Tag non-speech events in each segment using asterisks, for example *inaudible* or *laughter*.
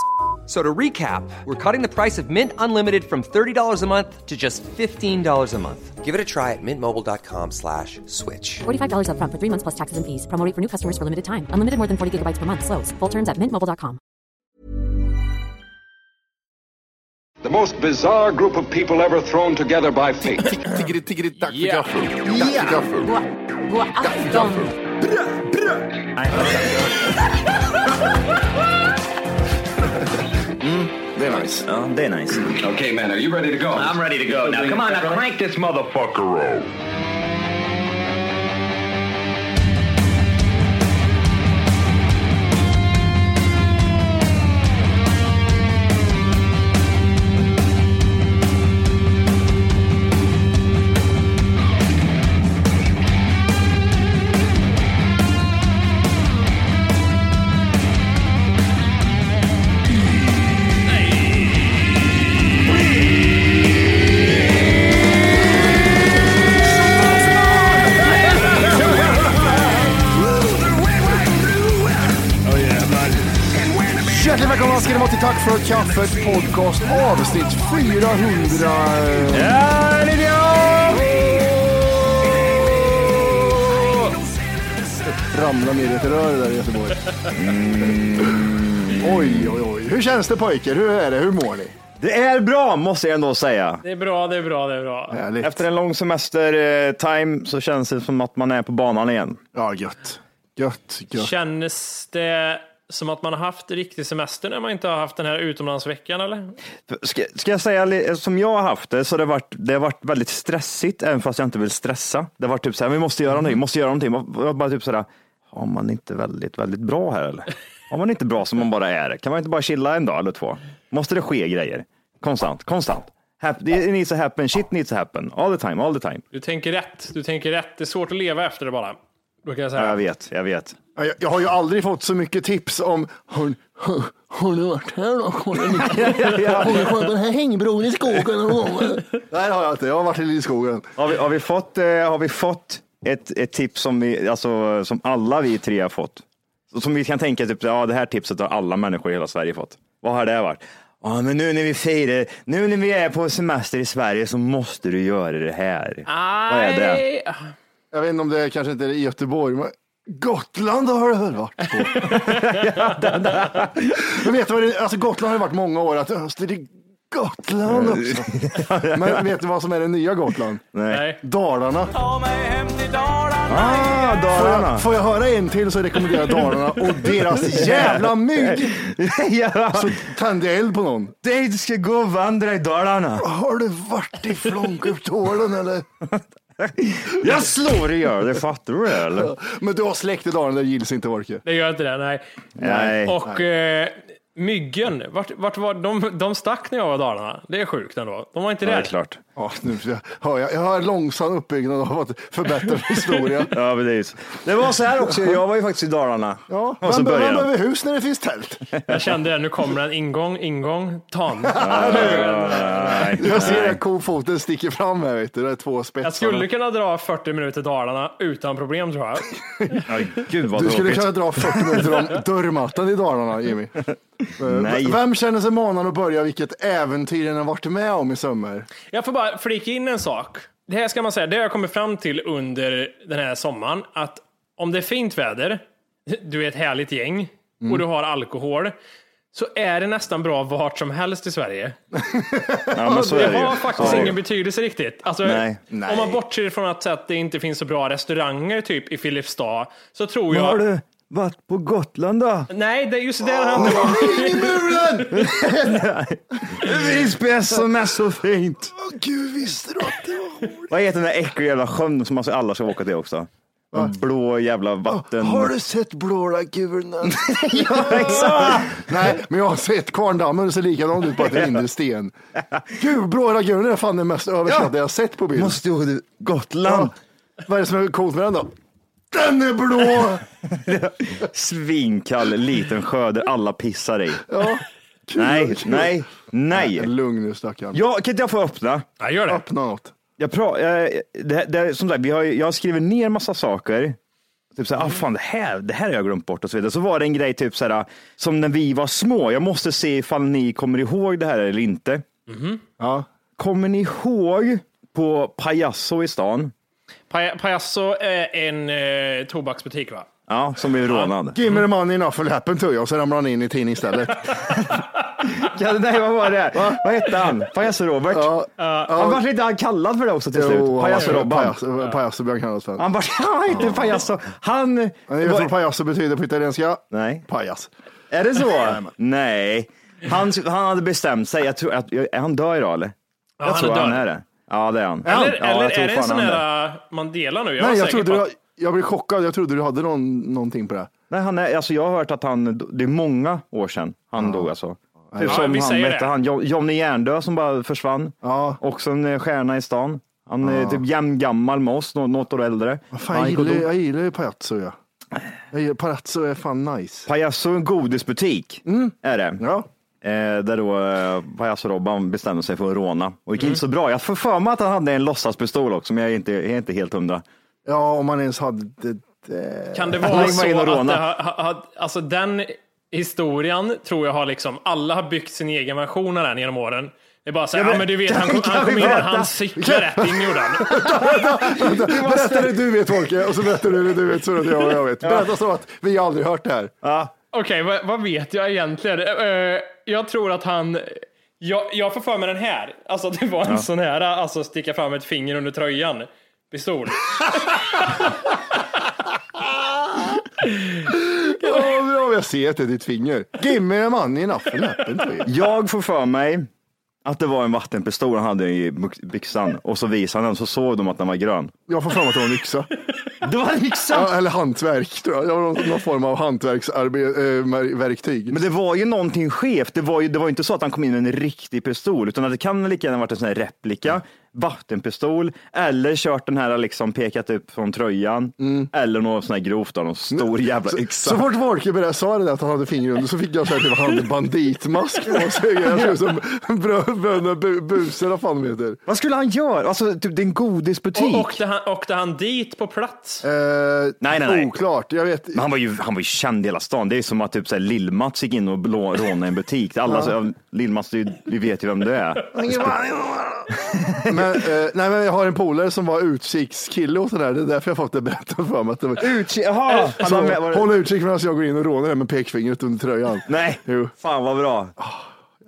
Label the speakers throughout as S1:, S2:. S1: f- So to recap, we're cutting the price of Mint Unlimited from $30 a month to just $15 a month. Give it a try at mintmobile.com slash switch.
S2: $45 up front for three months plus taxes and fees. Promoting for new customers for limited time. Unlimited more than 40 gigabytes per month. Slows. Full terms at mintmobile.com.
S3: The most bizarre group of people ever thrown together by fate.
S4: Tiggeri, tiggeri, tack för gaffel. Tack för gaffel.
S2: God, god afton.
S4: Det är nice.
S5: Ja, det är nice.
S3: okay, man, are you ready to go?
S5: I'm ready to go. Now come on, now crank this motherfucker up.
S4: Hjärtligt välkomna ska ni vara till Tack för kaffet podcast avsnitt 400. Ramla ner i ett rör där i Göteborg. Mm. Oj, oj, oj. Hur känns det pojkar? Hur är det? Hur mår ni?
S5: Det är bra, måste jag ändå säga.
S6: Det är bra, det är bra, det är bra.
S4: Härligt.
S5: Efter en lång semester-time så känns det som att man är på banan igen.
S4: Ja, gött. Gött, gött.
S6: Känns det som att man har haft riktig semester när man inte har haft den här utomlandsveckan eller?
S5: Ska, ska jag säga, li- som jag har haft det, så har det varit, det har varit väldigt stressigt, även fast jag inte vill stressa. Det har varit typ så här, vi måste göra någonting, måste göra någonting. Man- man Bara typ så här, har man inte väldigt, väldigt bra här eller? Har man inte bra som man bara är? Kan man inte bara chilla en dag eller två? Måste det ske grejer? Konstant, konstant. Hap- It needs to happen, shit needs to happen. All the time, all the time.
S6: Du tänker rätt, du tänker rätt. Det är svårt att leva efter det bara. Då kan jag
S5: Ja, jag
S6: säga.
S5: vet, jag vet. *laughs*
S4: Ja, Jag, jag har ju aldrig fått så mycket tips om har, har, har ni varit här då? *laughs* Har ni har ni varit på den här hängbron i skogen någon gång? Nej, det har jag inte. Jag har varit i skogen.
S5: Har vi, har vi fått, eh, har vi fått ett, ett tips som, vi, alltså, som alla vi tre har fått? Så- Som vi kan tänka, typ, ja, det här tipset har alla människor i hela Sverige fått. Vad har det varit? Ja, men nu när vi firar, nu när vi är på semester i Sverige så måste du göra det här. Vad är det?
S6: Aj.
S4: Jag vet inte om det är, kanske inte är i Göteborg, men Gotland har det väl varit på. men vet du vad det, alltså Gotland har det varit många år, att "Öst, det är Gotland också. Men vet du vad som är det nya Gotland?
S6: Nej.
S4: Dalarna.
S5: Ah,
S4: Får jag,
S5: Dalarna!
S4: får jag höra en till så rekommenderar jag Dalarna och deras jävla mygg.
S5: *laughs* ja,
S4: Så tände jag eld på någon.
S5: du ska gå och vandra i Dalarna.
S4: Har du varit i Flångkuptålen eller?
S5: Jag slår dig gör det, fattar du det eller?
S4: Men du har släkt i Dalarna, det gills inte Orke.
S6: Det gör inte det, nej.
S5: Nej.
S6: Och eh, myggen, vart, vart var, de, de stack när jag var i Dalarna. Det är sjukt ändå. De var inte
S5: Ja, det är
S6: där.
S5: klart.
S4: Ja, nu hör jag, jag hör långsam uppbyggnad av att förbättra historia.
S5: Ja, men det, är ju så. det var så här också, jag var ju faktiskt i Dalarna.
S4: Ja,
S5: och så
S4: vem, vem
S5: började de.
S4: behöver hus när det
S5: *laughs*
S4: finns tält?
S6: Jag kände det, nu kommer en ingång, ingång, tan.
S5: Nej,
S4: Jag ser
S5: nej.
S4: att kofoten sticker fram här, vet du. Det är två
S6: Jag
S4: spetsar.
S6: skulle kunna dra 40 minuter Dalarna utan problem tror jag.
S5: Aj, Gud vad
S4: Du skulle
S5: tråkigt.
S4: kunna dra 40 minuter
S5: *laughs*
S4: om dörrmattan i Dalarna, Jimmy.
S5: Nej.
S4: Vem känner sig manad att börja vilket äventyr den har varit med om i sommar?
S6: Jag får bara flika in en sak. Det här ska man säga, det har jag kommit fram till under den här sommaren, att om det är fint väder, du är ett härligt gäng och du har alkohol, så är det nästan bra vart som helst i *laughs* Sverige.
S5: Ja, men så är det
S6: det har
S5: ju.
S6: faktiskt
S5: Så är det
S6: ingen
S5: ju.
S6: betydelse riktigt. Alltså,
S5: Nej.
S4: Nej.
S6: Om man bortser från att, så att det inte finns så bra restauranger typ i Filipstad, så tror jag...
S5: Vad har du? Vart på Gotland då?
S6: Nej, det är just där han inte var.
S4: In i muren!
S5: Visby som är så fint.
S4: Åh, Gud, visste du att det var hår?
S5: Vad heter den där äckliga jävla sjön som alltså alla ska åka till också? Den blå jävla vatten...
S4: Har du sett blåa gulan?
S5: *laughs* Ja, exakt.
S4: Nej, men jag har sett Kvarndammen och ser likadan ut på
S5: *laughs*
S4: att det rinner sten. Gud, blåa gulan är fan den mest överskattade jag har sett på bild.
S5: Måste åka till Gotland.
S4: Ja. Vad är det som är coolt med den då? Den är blå!
S5: Svinkall liten sjö där alla pissar i.
S4: Ja. Kul,
S5: Nej,
S4: kul.
S5: nej, nej.
S4: Lugn nu stackarn.
S5: Ja, kan inte jag få öppna?
S6: Ja, gör det.
S4: Öppna något.
S5: Jag, pra, eh, det, det, som sagt, vi har, ju- jag skriver ner massa saker. Typ såhär, ah, fan, det, här, det här har jag glömt bort och så vidare. Så var det en grej typ såhär, som när vi var små. Jag måste se ifall ni kommer ihåg det här eller inte.
S4: Ja.
S5: Kommer ni ihåg på Pajasso i stan?
S6: Paj- Pajasso är en eh, tobaksbutik, va?
S5: Ja, som blev rånad.
S4: Give me the money enough will happen to you. Och så ramlar han in i
S5: *laughs*
S4: tidning istället.
S5: Ja, nej, vad var det? Vad hette han? Pajasso-Robert?
S4: Ja.
S5: Han vart inte han kallad för det också till slut? Pajasso-Robban.
S4: Pajasso- Pajasso blir han kallad för.
S5: Han vart, *laughs* han hette Pajasso. Han...
S4: Jag vet vad pajasso betyder på italienska?
S5: Nej.
S4: Pajas.
S5: Är det så? Nej. Han, han hade bestämt sig. Jag tror, att, är han död idag eller?
S6: Ja,
S5: jag tror
S6: död.
S5: han är det. Ja, det är han.
S6: Eller,
S5: ja,
S6: eller
S5: jag tror
S6: är det en
S5: fan
S6: sån
S5: han är.
S6: här eh, Mandela nu? Jag var
S4: Nej, jag
S6: säker
S4: trodde
S6: på
S4: du,
S6: att-
S4: jag blev chockad. Jag trodde du hade någon, någonting på det.
S5: Nej, han är, alltså jag har hört att han, det är många år sedan han dog alltså. Typ
S6: Ja,
S5: som
S6: vi
S5: han,
S6: säger
S5: hette
S6: det.
S5: han, Jo- Johnny Järndö som bara försvann.
S4: Ja.
S5: Också en eh, stjärna i stan. Han är typ jämngammal med oss, nå- något år äldre.
S4: Fan,
S5: Han
S4: jag,
S5: gick och
S4: gillar,
S5: dog.
S4: jag gillar ju Palazzo. Ja. Jag gillar, palazzo är fan nice.
S5: Pajasso är en godisbutik är det.
S4: Ja.
S5: Eh, där då eh, Pajasso-Robban bestämde sig för att råna. Och gick inte så bra. Jag får för mig att han hade en låtsaspistol också, men jag är inte, jag är inte helt hundra.
S4: ja, om man ens hade det. det.
S6: Kan det
S5: Han
S6: vara
S5: var
S6: så
S5: inne och
S6: att det
S5: rånade.
S6: har, har, har- alltså den historien tror jag har liksom, alla har byggt sin egen version av den genom åren. Det är bara såhär, ja, men du vet, han kom,
S5: kan
S6: han kom
S5: vi
S6: in där,
S5: berätta?
S6: han cyklade rätt in gjorde han.
S5: *laughs*
S4: Berätta det du vet Folke och så berättar du det du vet så att jag och jag vet. Berätta så att vi aldrig hört det här.
S6: Okej, vad, vad vet jag egentligen? Eh, jag tror att han... Jag, jag får för mig den här. Alltså det var en sån här, alltså sticka fram ett finger under tröjan. Pistol.
S4: Ja, bra, jag ser att det är ditt finger. Give me a money in appen. appen to you.
S5: Jag får för mig att det var en vattenpistol han hade i byx- byxan och så visade han den så såg de att den var grön.
S4: Jag får fram att det var en yxa.
S5: Det var en yxa!
S4: Ja, eller hantverk tror jag. Jag har någon, någon form av eh, hantverksverktyg.
S5: Men det var ju någonting skevt. Det var ju, det var ju inte så att han kom in med en riktig pistol, utan att det kan lika gärna varit en sån här replika, vattenpistol, eller kört den här liksom pekat upp från tröjan, eller något sån här grovt av någon stor jävla yxa.
S4: Så fort Wolke började sa det där att han hade finger under så typ fick jag säga att han hade banditmask på sig. Jag såg ut som brö- bröderna Bu- Buse eller vad fan de heter.
S5: Vad skulle han göra? Alltså, typ, det är en godisbutik.
S6: Och, åkte, han, åkte han dit på plats?
S4: Eh,
S5: Nej, nej, nej.
S4: Oklart, jag vet.
S5: Men han var ju, han var ju känd i hela stan. Det är som att typ så här Lill-Mats gick in och blå- rånade en butik. Alla sa, ja. Lill-Mats, det är ju- vi vet ju vem det *laughs* är.
S4: Men, eh, nej, men jag har en polare som var utkikskille och sådär. Det är därför jag fått det berättat för mig. Att det var...
S5: Utkik, jaha! Han var med, var
S4: Så,
S5: det...
S4: håll utkik medan jag går in och rånar det med pekfingret under tröjan.
S5: Nej,
S4: Jo.
S5: fan vad bra.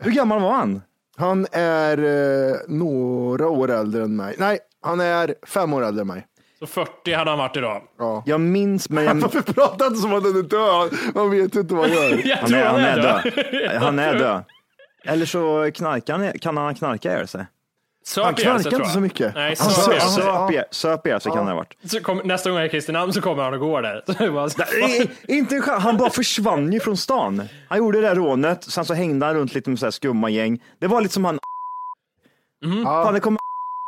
S5: Hur gammal var han?
S4: Han är eh, några år äldre än mig. Nej, han är fem år äldre än mig.
S6: Så 40 hade han varit idag.
S5: Jag minns, *laughs* men jag...
S4: Varför pratar inte som att han är död? Man vet ju inte vad han
S5: *laughs*
S4: gör.
S6: *laughs* Jag
S5: Han
S6: tror
S5: är, han är
S6: död.
S5: död. Han är död. Eller så knarkar han, kan han knarka ihjäl sig.
S6: Söp
S4: Han
S6: ihjäl
S4: knarkar
S6: sig, tror
S4: inte
S6: jag.
S4: så mycket.
S6: Nej,
S4: Han
S6: söp
S4: söp-
S6: ihjäl sig.
S4: Ja.
S5: Söp ihjäl- Söp ihjäl sig kan det ha varit.
S6: Så kom, nästa gång jag är i Kristinehamn så kommer han och går där. *laughs* Så det är bara så-
S5: Nej, inte en chans. Han bara försvann ju från stan. Han gjorde det där rånet, sen så hängde han runt lite med så här skumma gäng. Det var lite som han Fan, det kom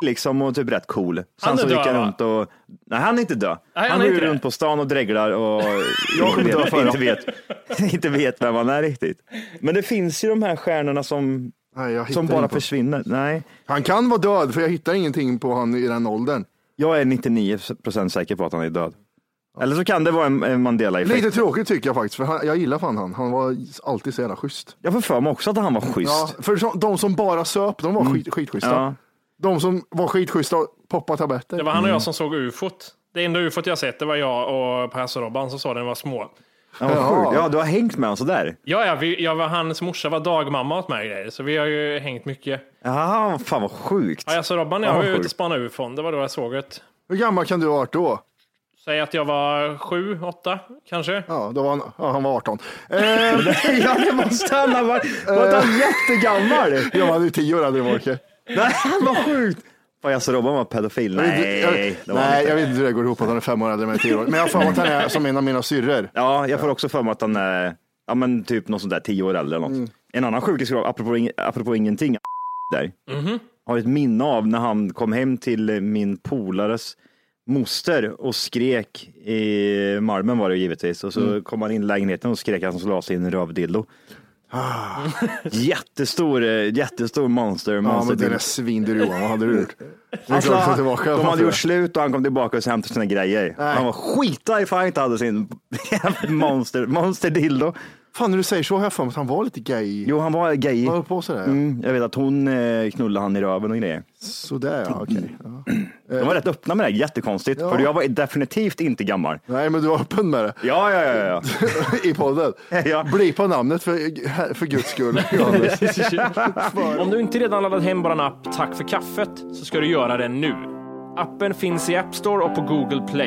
S5: liksom och typ rätt cool. Sen
S6: Mhm. Han är
S5: så
S6: död,
S5: gick han
S6: va?
S5: runt och... Nej, han är inte död.
S6: han är
S5: han går ju
S6: inte det.
S5: runt på stan och dreglar och *laughs* jag
S4: kommer dö
S5: vet,
S4: för
S5: inte, vet, inte vet vem han är riktigt. Men det finns ju de här stjärnorna som,
S4: Nej, jag hittar
S5: som bara
S4: inte.
S5: försvinner. Nej,
S4: Han kan vara död för jag hittar ingenting på han i den åldern.
S5: jag är 99 procent säker på att han är död. Eller så kan det vara en, en Mandela-effekt.
S4: Lite tråkigt tycker jag faktiskt, för han, jag gillar fan han. Han var alltid så jävla schysst.
S5: Jag får för mig också att han var schysst.
S4: Ja, för så, de som bara söp, de var skit, skitschyssta.
S5: Mm. Ja.
S4: De som var skitschyssta poppade tabletter.
S6: Det var han och jag som såg ufot. Det enda ufot jag sett, det var jag och Pajasso Robban som sa det när vi var små.
S5: Ja, vad
S4: Jaha.
S5: sjukt. ja, du har hängt med honom sådär.
S6: Ja, ja, vi, jag var, hans morsa var dagmamma åt mig och grejer, så vi har ju hängt mycket.
S5: Ja, fan vad sjukt. *laughs*
S6: Pajasso Robban, jag
S5: Ja,
S6: var ju
S5: sjukt.
S6: ute och spanade ufon. Det var då jag såg det.
S4: Hur gammal kan du ha varit då?
S6: Säg att jag var sju, åtta kanske.
S4: Ja, *laughs* då var han, ja, han var 18.
S5: *laughs*
S4: Eh, ja, det måste
S5: Måste han ha varit, var
S4: Eh.
S5: han jättegammal?
S4: jag var ju 10 år hade det varit.
S5: Nej, vad sjukt. Vad jag så Robban var pedofil?
S4: Jag vet inte- jag,
S5: Nej, det var han
S4: nej
S5: inte.
S4: jag vet inte hur det går ihop att han är fem år äldre än mig, tio år. Men jag har för mig att han är som en av mina syrror.
S5: Ja, jag får också för mig att han är, ja men typ någon sån där tio år äldre eller
S4: Mm.
S5: något. En annan sjukis, apropå, ing- apropå ingenting, *laughs* där.
S4: Mm-hmm.
S5: Har ett minne av när han kom hem till min polares moster och skrek i Malmen var det ju givetvis och så
S4: Mm.
S5: kom han in i lägenheten och skrek att han skulle ha sin rövdildo.
S4: Mm.
S5: Ah, jättestor, eh, jättestor monster. monster
S4: Ja, men Alltså, det där svindyr Johan, vad hade du gjort? Det är
S5: Alltså,
S4: klart att ta tillbaka.
S5: de hade gjort slut och han kom tillbaka och hämtade sina grejer.
S4: Nej.
S5: Han var skita ifall han inte hade sin *laughs* monster, monster dildo.
S4: Fan, när du säger så har jag för mig att han var lite gay.
S5: Jo, han var gay.
S4: Han höll på sådär. ja.
S5: Mm, jag vet att hon eh, knullade han i röven och grejer.
S4: Sådär ja, okej. Ja.
S5: De var rätt öppna med det, här, jättekonstigt.
S4: Eh. Ja.
S5: För jag var definitivt inte gammal.
S4: Nej, men du var öppen med det *laughs*
S5: Ja, ja, ja. ja.
S4: i *laughs* podden.
S5: Ja.
S4: Blipa namnet för, för guds *laughs* skull, Johannes.
S6: Om du inte redan laddat hem vår app Tack för kaffet så ska du göra det nu. Appen finns i App Store och på Google Play.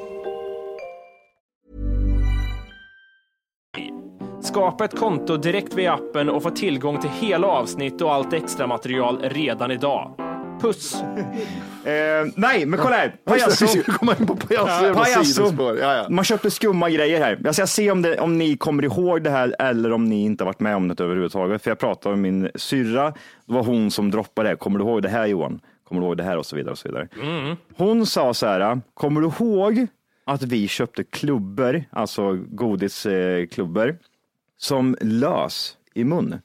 S6: Skapa ett konto direkt via appen och få tillgång till hela avsnitt och allt extra material redan idag. Puss!
S5: Eh, nej, men kolla här.
S4: Just
S5: Pajasso.
S4: det, *laughs* Vi ska komma in på Pajasso. jävla sidospår. Ja, ja.
S5: Man köpte skumma grejer här. Jag ska se om, det, om ni kommer ihåg det här eller om ni inte har varit med om det överhuvudtaget. För jag pratade med min syrra. Det var hon som droppade det. Kommer du ihåg det här Johan? Kommer du ihåg det här och så vidare. Och så vidare. Hon sa så här. Kommer du ihåg att vi köpte klubbor, alltså godisklubbor, som lös i mun?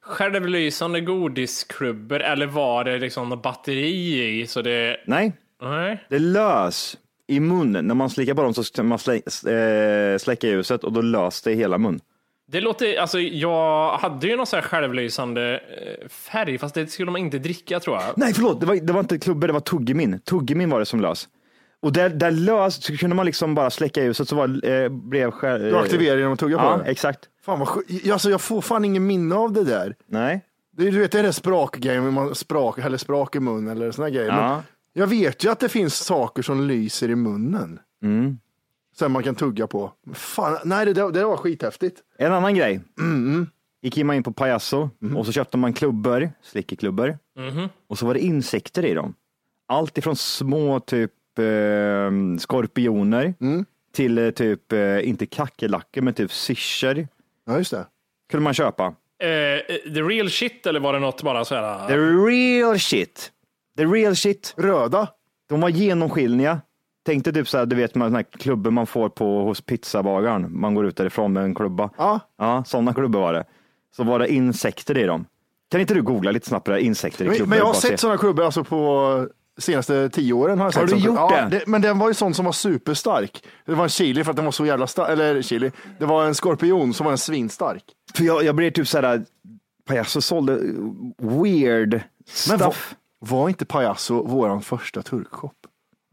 S6: Självlysande godiskrubbor eller var det liksom något batteri i så det...
S5: Nej,
S6: Nej.
S5: det lös i munnen. När man slickar på dem så ska man slä, eh, släcka ljuset och då lös det i hela mun.
S6: Det låter... Alltså jag hade ju någon sån här självlysande eh, färg fast det skulle man inte dricka tror jag.
S5: Nej, förlåt. Det var, det var inte klubbor, det var tuggemin. Tuggemin var det som lös. Och där, där lös så kunde man liksom bara släcka ljuset så var, eh, blev själv...
S4: Du aktiverar genom att tugga på
S5: Ja,
S4: det.
S5: exakt.
S4: Fan vad sjukt. Alltså, jag får fan ingen minne av det där.
S5: Nej.
S4: Det är- Du vet det är det sprakgrejen, hur man sprak, häller sprak i munnen eller såna grejer.
S5: Ja.
S4: Men jag vet ju att det finns saker som lyser i munnen.
S5: Mm.
S4: Sen man kan tugga på. Men Fan, nej, det, där- det där var skithäftigt.
S5: En annan grej.
S4: Mm-hmm.
S5: Gick man in på Pajasso och så köpte man klubbor, slickeklubbor.
S4: Mm-hmm.
S5: Och så var det insekter i dem. Allt ifrån små typ eh, skorpioner
S4: Mm.
S5: till eh, typ, eh, inte kackerlackor, men typ syrsor
S4: Ja, just det.
S5: kunde man köpa.
S6: Eh, the real shit eller var det något bara så här...
S5: The real shit. The real shit.
S4: Röda.
S5: De var genomskinliga. Tänkte typ så här, du vet man, såna här klubbor man får på hos pizzabagaren. Man går ut därifrån med en klubba.
S4: Ja.
S5: Ja, sådana klubbor var det. Så var det insekter i dem. Kan inte du googla lite snabbt på det här, insekter i klubbor?
S4: Men, men jag har
S5: Bara se.
S4: sett sådana klubbor alltså på senaste tio åren. Har, jag
S5: Har
S4: sett
S5: du
S4: sån-
S5: gjort
S4: ja,
S5: det?
S4: Men den var ju sån som var superstark. Det var en chili för att den var så jävla stark. Eller chili. Det var en skorpion som var en svinstark.
S5: För jag, jag blev typ så här, Pajasso sålde eh, weird
S4: Men var,
S5: stuff.
S4: var inte Pajasso våran första turkshop?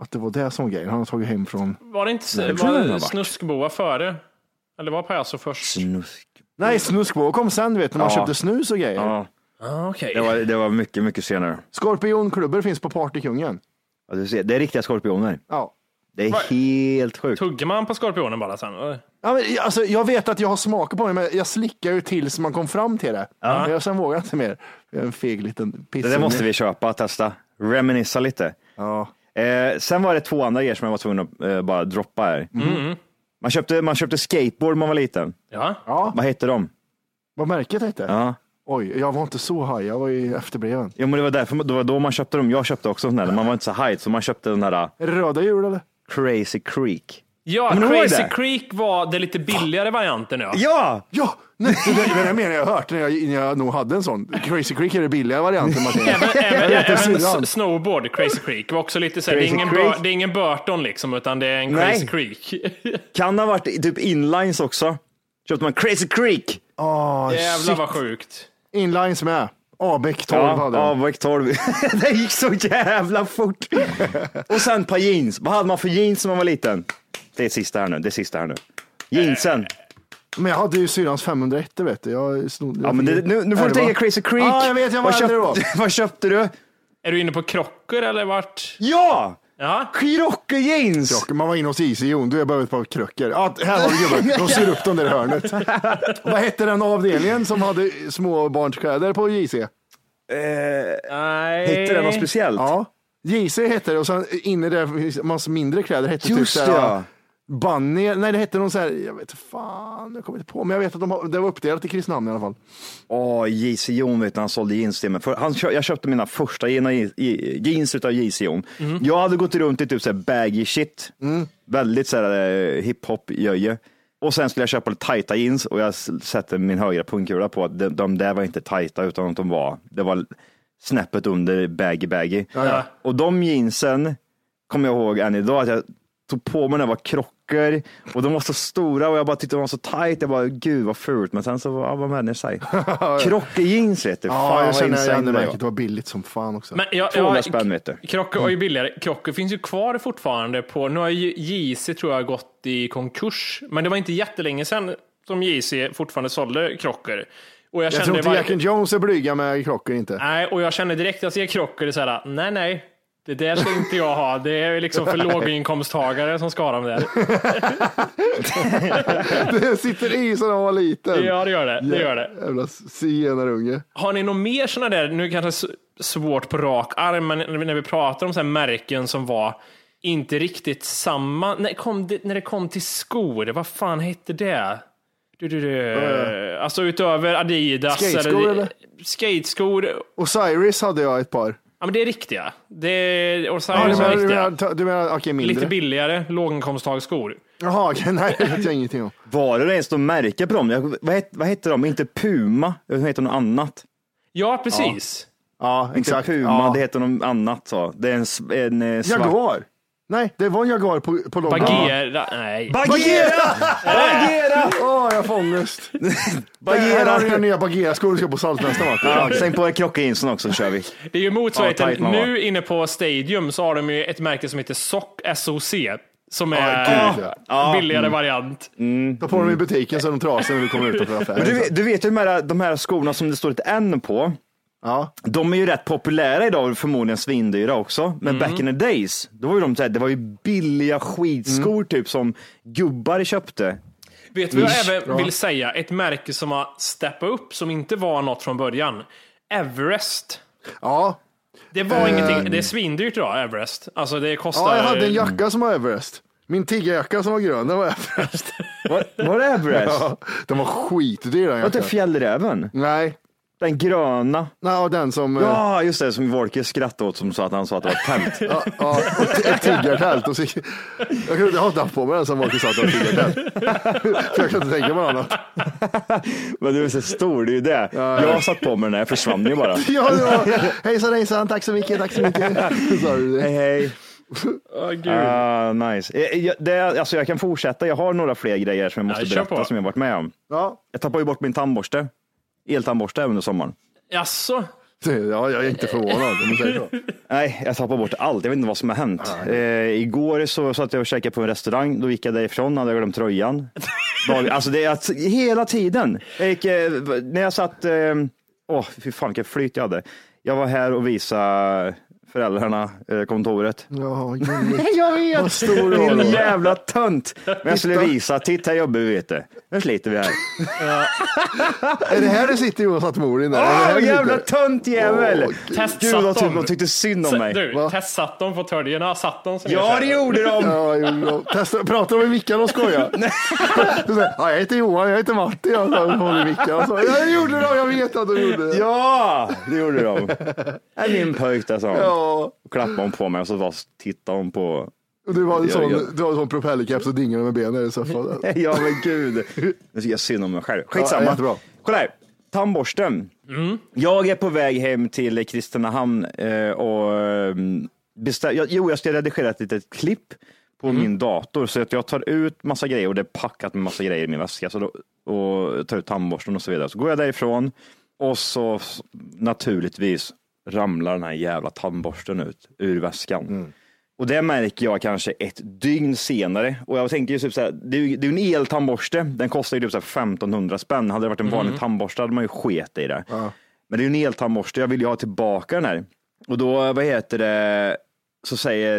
S4: Att det var det som var grejen. Han har tagit hem från...
S6: Var det inte
S5: det tror
S6: var
S5: jag
S6: det
S5: det har varit.
S6: snuskboa före? Eller var Pajasso först?
S5: Snusk.
S4: Nej, snuskbo kom sen du vet när man
S5: Ja.
S4: köpte snus och grejer.
S5: Ja,
S6: Ah, Okej.
S5: det var, det var mycket, mycket senare.
S4: Skorpionklubbor finns på Partykungen.
S5: Ja, du ser, det är riktiga skorpioner.
S4: Ja.
S5: Det är helt sjukt.
S6: Tuggar man på skorpionen bara sen? eller?
S4: Ja, men, alltså, jag vet att jag har smaker på mig, men jag slickar ju tills man kom fram till det. Men jag sen vågar jag inte mer. Jag är en feg liten piss.
S5: Det där måste vi köpa och testa. Reminissa lite. Ja. Eh, sen var det två andra grejer som jag var tvungen att eh, bara droppa här. Man, köpte, man köpte skateboard när man var liten.
S6: Ja.
S4: Ja,
S5: Vad hette de?
S4: vad märket hette?
S5: Ja.
S4: Oj, jag var inte så haj, jag var ju efterbreven.
S5: Ja, men det var därför det var då man köpte dem. Jag köpte också sådana där. Man var inte så high, så man köpte den här ah,
S4: Är det röda hjul eller?
S5: Crazy Creek.
S6: Ja,
S5: Kommer du ihåg
S6: Crazy
S5: det?
S6: Creek var den lite billigare varianten. Ja.
S5: Ja!
S4: Ja, nej, det där- det där menar jag hört när jag, när jag nog hade en sån. Crazy Creek är den billiga
S5: *laughs*
S4: varianten Martin.
S6: Även, även,
S4: Jag vet inte
S6: även
S4: sidan.
S6: s- snowboard, Crazy Creek, var också lite så här, det, är
S5: Crazy
S6: ingen
S5: Creek.
S6: bur, det är ingen Burton liksom, utan det är en
S5: Nej.
S6: Crazy Creek. *laughs*
S5: Kan ha varit typ inlines också. Köpte man Crazy Creek.
S4: Åh,
S6: Jävlar vad sjukt.
S4: Inlines med. Abäck 12
S5: Ja,
S4: hade
S5: ja
S4: de.
S5: Wack 12. *laughs* det gick så jävla fort. Och sen ett par jeans. Vad hade man för jeans när man var liten? Det är sista här nu. Det är sista här nu. Jeansen.
S4: Men jag hade ju syrrans 501 vet du. Jag snodde.
S5: Ja, men det, nu, nu får du
S4: Elva.
S5: tänka Crazy Creek.
S4: Ja, jag vet, jag var
S5: vad,
S4: äldre då.
S5: köpte, *laughs* vad köpte du?
S6: Är du inne på krockor eller vart?
S5: Ja!
S6: Ja.
S5: Krocke jeans!
S4: Krock. Man var inne hos Isejon, du är bara ett par kröcker. Ja, här har du
S5: *laughs*
S4: gubben, de syr upp dem där i hörnet. Vad hette den avdelningen som hade småbarnskläder på JC?
S6: Nej.
S5: Eh, Hittade den något speciellt?
S4: Ja, JC hette det och sen inne där finns massa mindre kläder hette
S5: Just
S4: typ
S5: det, ja.
S4: Bunny, nej det hette någon så här, jag vet fan, jag kommer inte på, men jag vet att de har, det var uppdelat i Kristinehamn i alla fall.
S5: Åh, JC Jon vet du, han sålde jeans till mig. För han, kö- jag köpte mina första gena- i- jeans utav JC Jon. Jag hade gått runt i typ så här baggy shit. Väldigt så här eh, hiphop jöje. Och sen skulle jag köpa lite tajta jeans och jag s- sätter min högra pungkula på att de, de där var inte tajta utan att de var, det var snäppet under baggy baggy. Och de jeansen kommer jag ihåg än idag att jag tog på mig när jag var krockor och de var så stora och jag bara tyckte de var så tight. Jag bara, gud vad fult. Men sen så, ja, vad vänjer sig.
S4: *laughs*
S5: Krockejeans vet du. Fan,
S4: Ja, jag
S5: vad
S4: känner
S5: insane
S4: igen det
S5: det
S4: märket,
S5: var.
S4: det var billigt som fan också.
S6: Men jag,
S5: 200
S6: jag,
S5: spänn, vet du. Mm.
S6: Krockor var ju billigare. Krockor finns ju kvar fortfarande på, nu har ju JC tror jag gått i konkurs, men det var inte jättelänge sedan som JC fortfarande sålde krockor. Och jag,
S4: jag
S6: kände
S4: tror inte
S6: var-
S4: Jack and Jones är blyga med krocker
S6: *laughs*
S4: inte.
S6: Nej, och jag känner direkt när jag ser krockor, det är så här, nej, nej, det där ska inte jag ha. Det är
S4: *laughs*
S6: liksom för låginkomsttagare som ska ha dem där.
S4: Det sitter i sedan han var liten.
S6: Ja, det gör det. det, gör det.
S4: Jävla zigenarunge.
S6: Har ni något mer sådana där, nu kanske s- svårt på rak arm, men när vi pratar om så här märken som var inte riktigt samma. När, kom det, när det kom till skor, vad fan hette det? Du, du, du. Alltså utöver Adidas.
S4: Skateskor, eller?
S6: Skateskor.
S4: Osiris hade jag ett par.
S6: Ja, men det är riktiga. Det är, och så
S4: Ja,
S6: är
S4: du
S6: det
S4: menar, du
S6: riktiga.
S4: menar, du menar okej, mindre?
S6: Lite billigare låginkomsttagarskor.
S4: Jaha, okej, nej, det vet jag ingenting om.
S5: Var det ens att märka på dem? Jag, vad, het, vad hette de? Inte Puma, utan hette något annat.
S6: Ja, precis.
S4: Ja, exakt.
S5: Inte Puma, det hette något annat. Så. Det är en, s- en eh, svart.
S4: Jaguar. Nej, det var en Jaguar på, på långt.
S6: Bagheera. Nej.
S5: Bagheera! Bagheera!
S4: Åh, jag får ångest. Här har du dina
S5: Bagheera!
S4: nya Bagheera-skor du ska på Saltnästa, Martin.
S5: Ja, Släng på krockejeansen också så kör vi.
S6: Det är ju
S5: Ja,
S6: motsvarigheten.
S5: tight man var.
S6: nu inne på Stadium så har de ju ett märke som heter SOC, SOC, som är
S4: Ja, gud,
S6: en billigare
S5: Mm.
S6: variant.
S4: Ta på dem i butiken så är de trasiga när du kommer utanför affären.
S5: Men du, vet- du vet ju de här, de här skorna som det står ett N på.
S4: Ja.
S5: De är ju rätt populära idag och förmodligen svindyra också. Men
S4: Mm.
S5: back in the days, då var ju de så här, det var ju billiga skidskor
S4: Mm.
S5: typ som gubbar köpte.
S6: Vet du vad jag även vill säga? Ett märke som har steppat upp, som inte var något från början. Everest.
S4: Ja.
S6: Det
S5: Eh.
S6: var ingenting. Det är svindyrt idag, Everest. Alltså det kostar...
S4: ja, jag hade en jacka som var Everest. Min tiggarjacka som var grön, den var Everest.
S5: Var, var det Everest?
S4: *laughs* Ja, den var skitdyr den
S5: Var det
S4: jackan.
S5: fjällräven?
S4: Nej,
S5: Den gröna?
S4: nej och den som... eh, Ja.
S5: Ja, just det, som Wolke skrattade åt som sa att han sa att det var ett tält.
S4: *laughs* Ja, ja, och t- ett tiggartält. Och så, jag, kunde, jag har inte haft på mig den som Marcus sa att det var ett tiggartält. För jag kan inte tänka mig något annat.
S5: Men du är så stor, det är ju det. Jag satt på mig den här, jag försvann ju
S4: *laughs*
S5: bara.
S4: Ja, det var, hejsan hejsan, tack så mycket, tack så mycket. Sa du
S5: Hej
S4: det?
S5: hej.
S6: Åh, gud.
S5: Ah, nice. Eh, eh, jag- Det, alltså jag kan fortsätta, jag har några fler grejer som jag måste
S6: Ja, kör
S5: berätta
S6: på.
S5: som jag varit med om.
S4: Ja,
S5: Jag tappade ju bort min tandborste. Eltandborste under sommaren.
S6: Jaså?
S4: ja, jag är inte förvånad om man säger så.
S5: Nej, jag tappade bort allt. Jag vet inte vad som har hänt. Eh, igår så satt jag och käkade på en restaurang. Då gick jag därifrån, hade jag glömt *laughs* tröjan. Dag- alltså det är att, hela tiden. Jag gick, eh, v- när jag satt, eh, åh fy fan vilket flyt jag hade. Jag var här och visade föräldrarna eh, kontoret.
S4: Ja, gulligt.
S5: Jag vet!
S4: Vad stor roll.
S5: Din jävla tönt! Men jag skulle visa, Mm. titta här jobbar vi vet du. Nu sliter vi här.
S4: Är det här du sitter Jonas Attmori? Åh,
S5: Åh, Ah, jävla töntjävel!
S4: Åh,
S6: Testsatt
S5: Gud vad typ
S6: dem.
S5: de tyckte synd om
S6: Så-
S5: mig.
S6: Du, testsatt dem på törjerna, satt dem som
S5: Ja,
S6: jag
S5: det
S6: säger.
S5: gjorde de!
S4: Ja, jo, testa, pratar med Mickan och skojar. Så säger, ja, jag heter Johan, jag heter Matti. Jag håller Mickan. Så, jag gjorde det, jag vet att du gjorde det.
S5: Ja, det gjorde *laughs* de. Är min pojk där, sa hon.
S4: Ja.
S5: Klappade hon på mig och så bara tittade hon på.
S4: Och Du var en
S5: Ja,
S4: sån,
S5: ja.
S4: du var en sån propellerkeps och dinglar med benen i soffan.
S5: *laughs* Ja, men gud. Nu tycker jag synd om mig själv.
S4: Ja,
S5: Skitsamma.
S4: jättebra.
S5: Kolla här. Tandborsten. Jag är på väg hem till Kristinehamn eh, och eh, bestä- jag, jo, jag ska redigera ett litet klipp på min dator så att jag tar ut massa grejer och det är packat med massa grejer i min väska så då, och tar ut tandborsten och så vidare. Så går jag därifrån och så s- naturligtvis ramlar den här jävla tandborsten ut ur väskan.
S4: Mm.
S5: Och det märker jag kanske ett dygn senare. Och jag tänker ju typ så här, det är ju det är ju en eltandborste. Den kostar ju typ så här 1500 spänn. Hade det varit en
S4: Mm.
S5: vanlig tandborste hade man ju sket i det. Men det är ju en eltandborste. Jag vill ju ha tillbaka den här. Och då, vad heter det, så säger,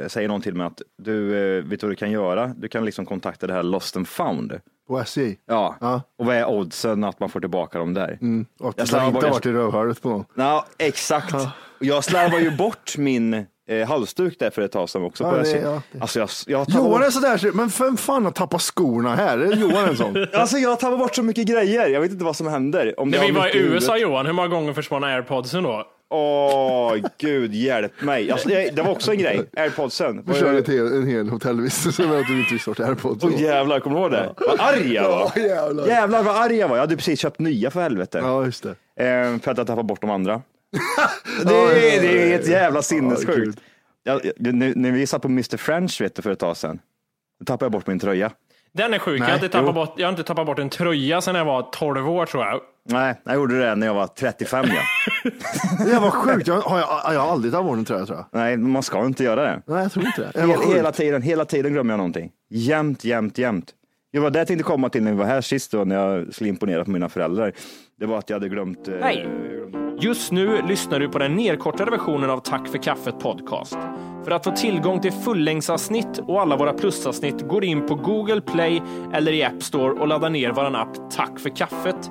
S5: eh, säger någon till mig att du, eh, vet du vad du kan göra? Du kan liksom kontakta det här Lost and found.
S4: På E. SJ.
S5: Ja.
S4: Ja. Mm.
S5: Och vad är oddsen att man får tillbaka dem där?
S4: Och
S5: Jag
S4: det har
S5: slarvar
S4: inte
S5: bort-
S4: varit i rövhålet på någon.
S5: Ja, exakt. Jag slarvar ju bort min eh, halsduk där för ett tag sedan också.
S4: Ja,
S5: på
S4: det-
S5: SJ.
S4: ja, det-
S5: Alltså jag, jag tar
S4: Johan är sådär, men vem fan har tappat skorna här? Är det Johan
S5: *laughs*
S4: en sån?
S5: Alltså jag tappar bort så mycket grejer. Jag vet inte vad som händer. Om
S6: När
S5: jag
S6: vi
S5: har
S6: var
S5: mitt
S6: i USA
S5: huvud.
S6: Johan, hur många gånger försvann airpodsen då?
S5: Åh, gud hjälp mig. Alltså, jag, det var också en grej. Airpodsen.
S4: Du körde till en hel hotellvistelse med att du inte visste vart airpods
S5: Åh
S4: var.
S5: jävlar, kommer du ihåg det? Vad arg jag var.
S4: Ja, jävlar.
S5: jävlar vad arg jag var. Jag hade precis köpt nya för helvete.
S4: Ja, just det.
S5: Eh, för att jag tappade bort de
S4: *laughs*
S5: andra. det,
S4: Ja, ja, ja,
S5: är, det är helt jävla
S4: Ja,
S5: sinnessjukt.
S4: gud.
S5: Ja, det- nu- när vi satt på Mr French vet du, för ett tag sedan, då tappade jag bort min tröja.
S6: Den är sjuk. jag, har inte tappat bort, jag har inte tappat bort en tröja sedan jag var 12 år tror jag.
S5: Nej, jag gjorde det när jag var 35.
S4: *laughs*
S5: Ja.
S4: Det var sjukt, jag har, jag, jag har aldrig tagit bort en tröja tror jag.
S5: Nej, man ska inte göra det.
S4: Nej, jag tror inte det. det. var
S5: Hela,
S4: sjukt.
S5: hela tiden, hela tiden glömmer jag någonting. Jämt, jämt, jämt. Det var det jag tänkte komma till när vi var här sist då, när jag skulle imponera på mina föräldrar. Det var att jag hade glömt... eh,
S6: Hej. Just nu lyssnar du på den nedkortade versionen av Tack för kaffet podcast. För att få tillgång till fullängdsavsnitt och alla våra plusavsnitt går in på Google Play eller i App Store och laddar ner vår app Tack för kaffet.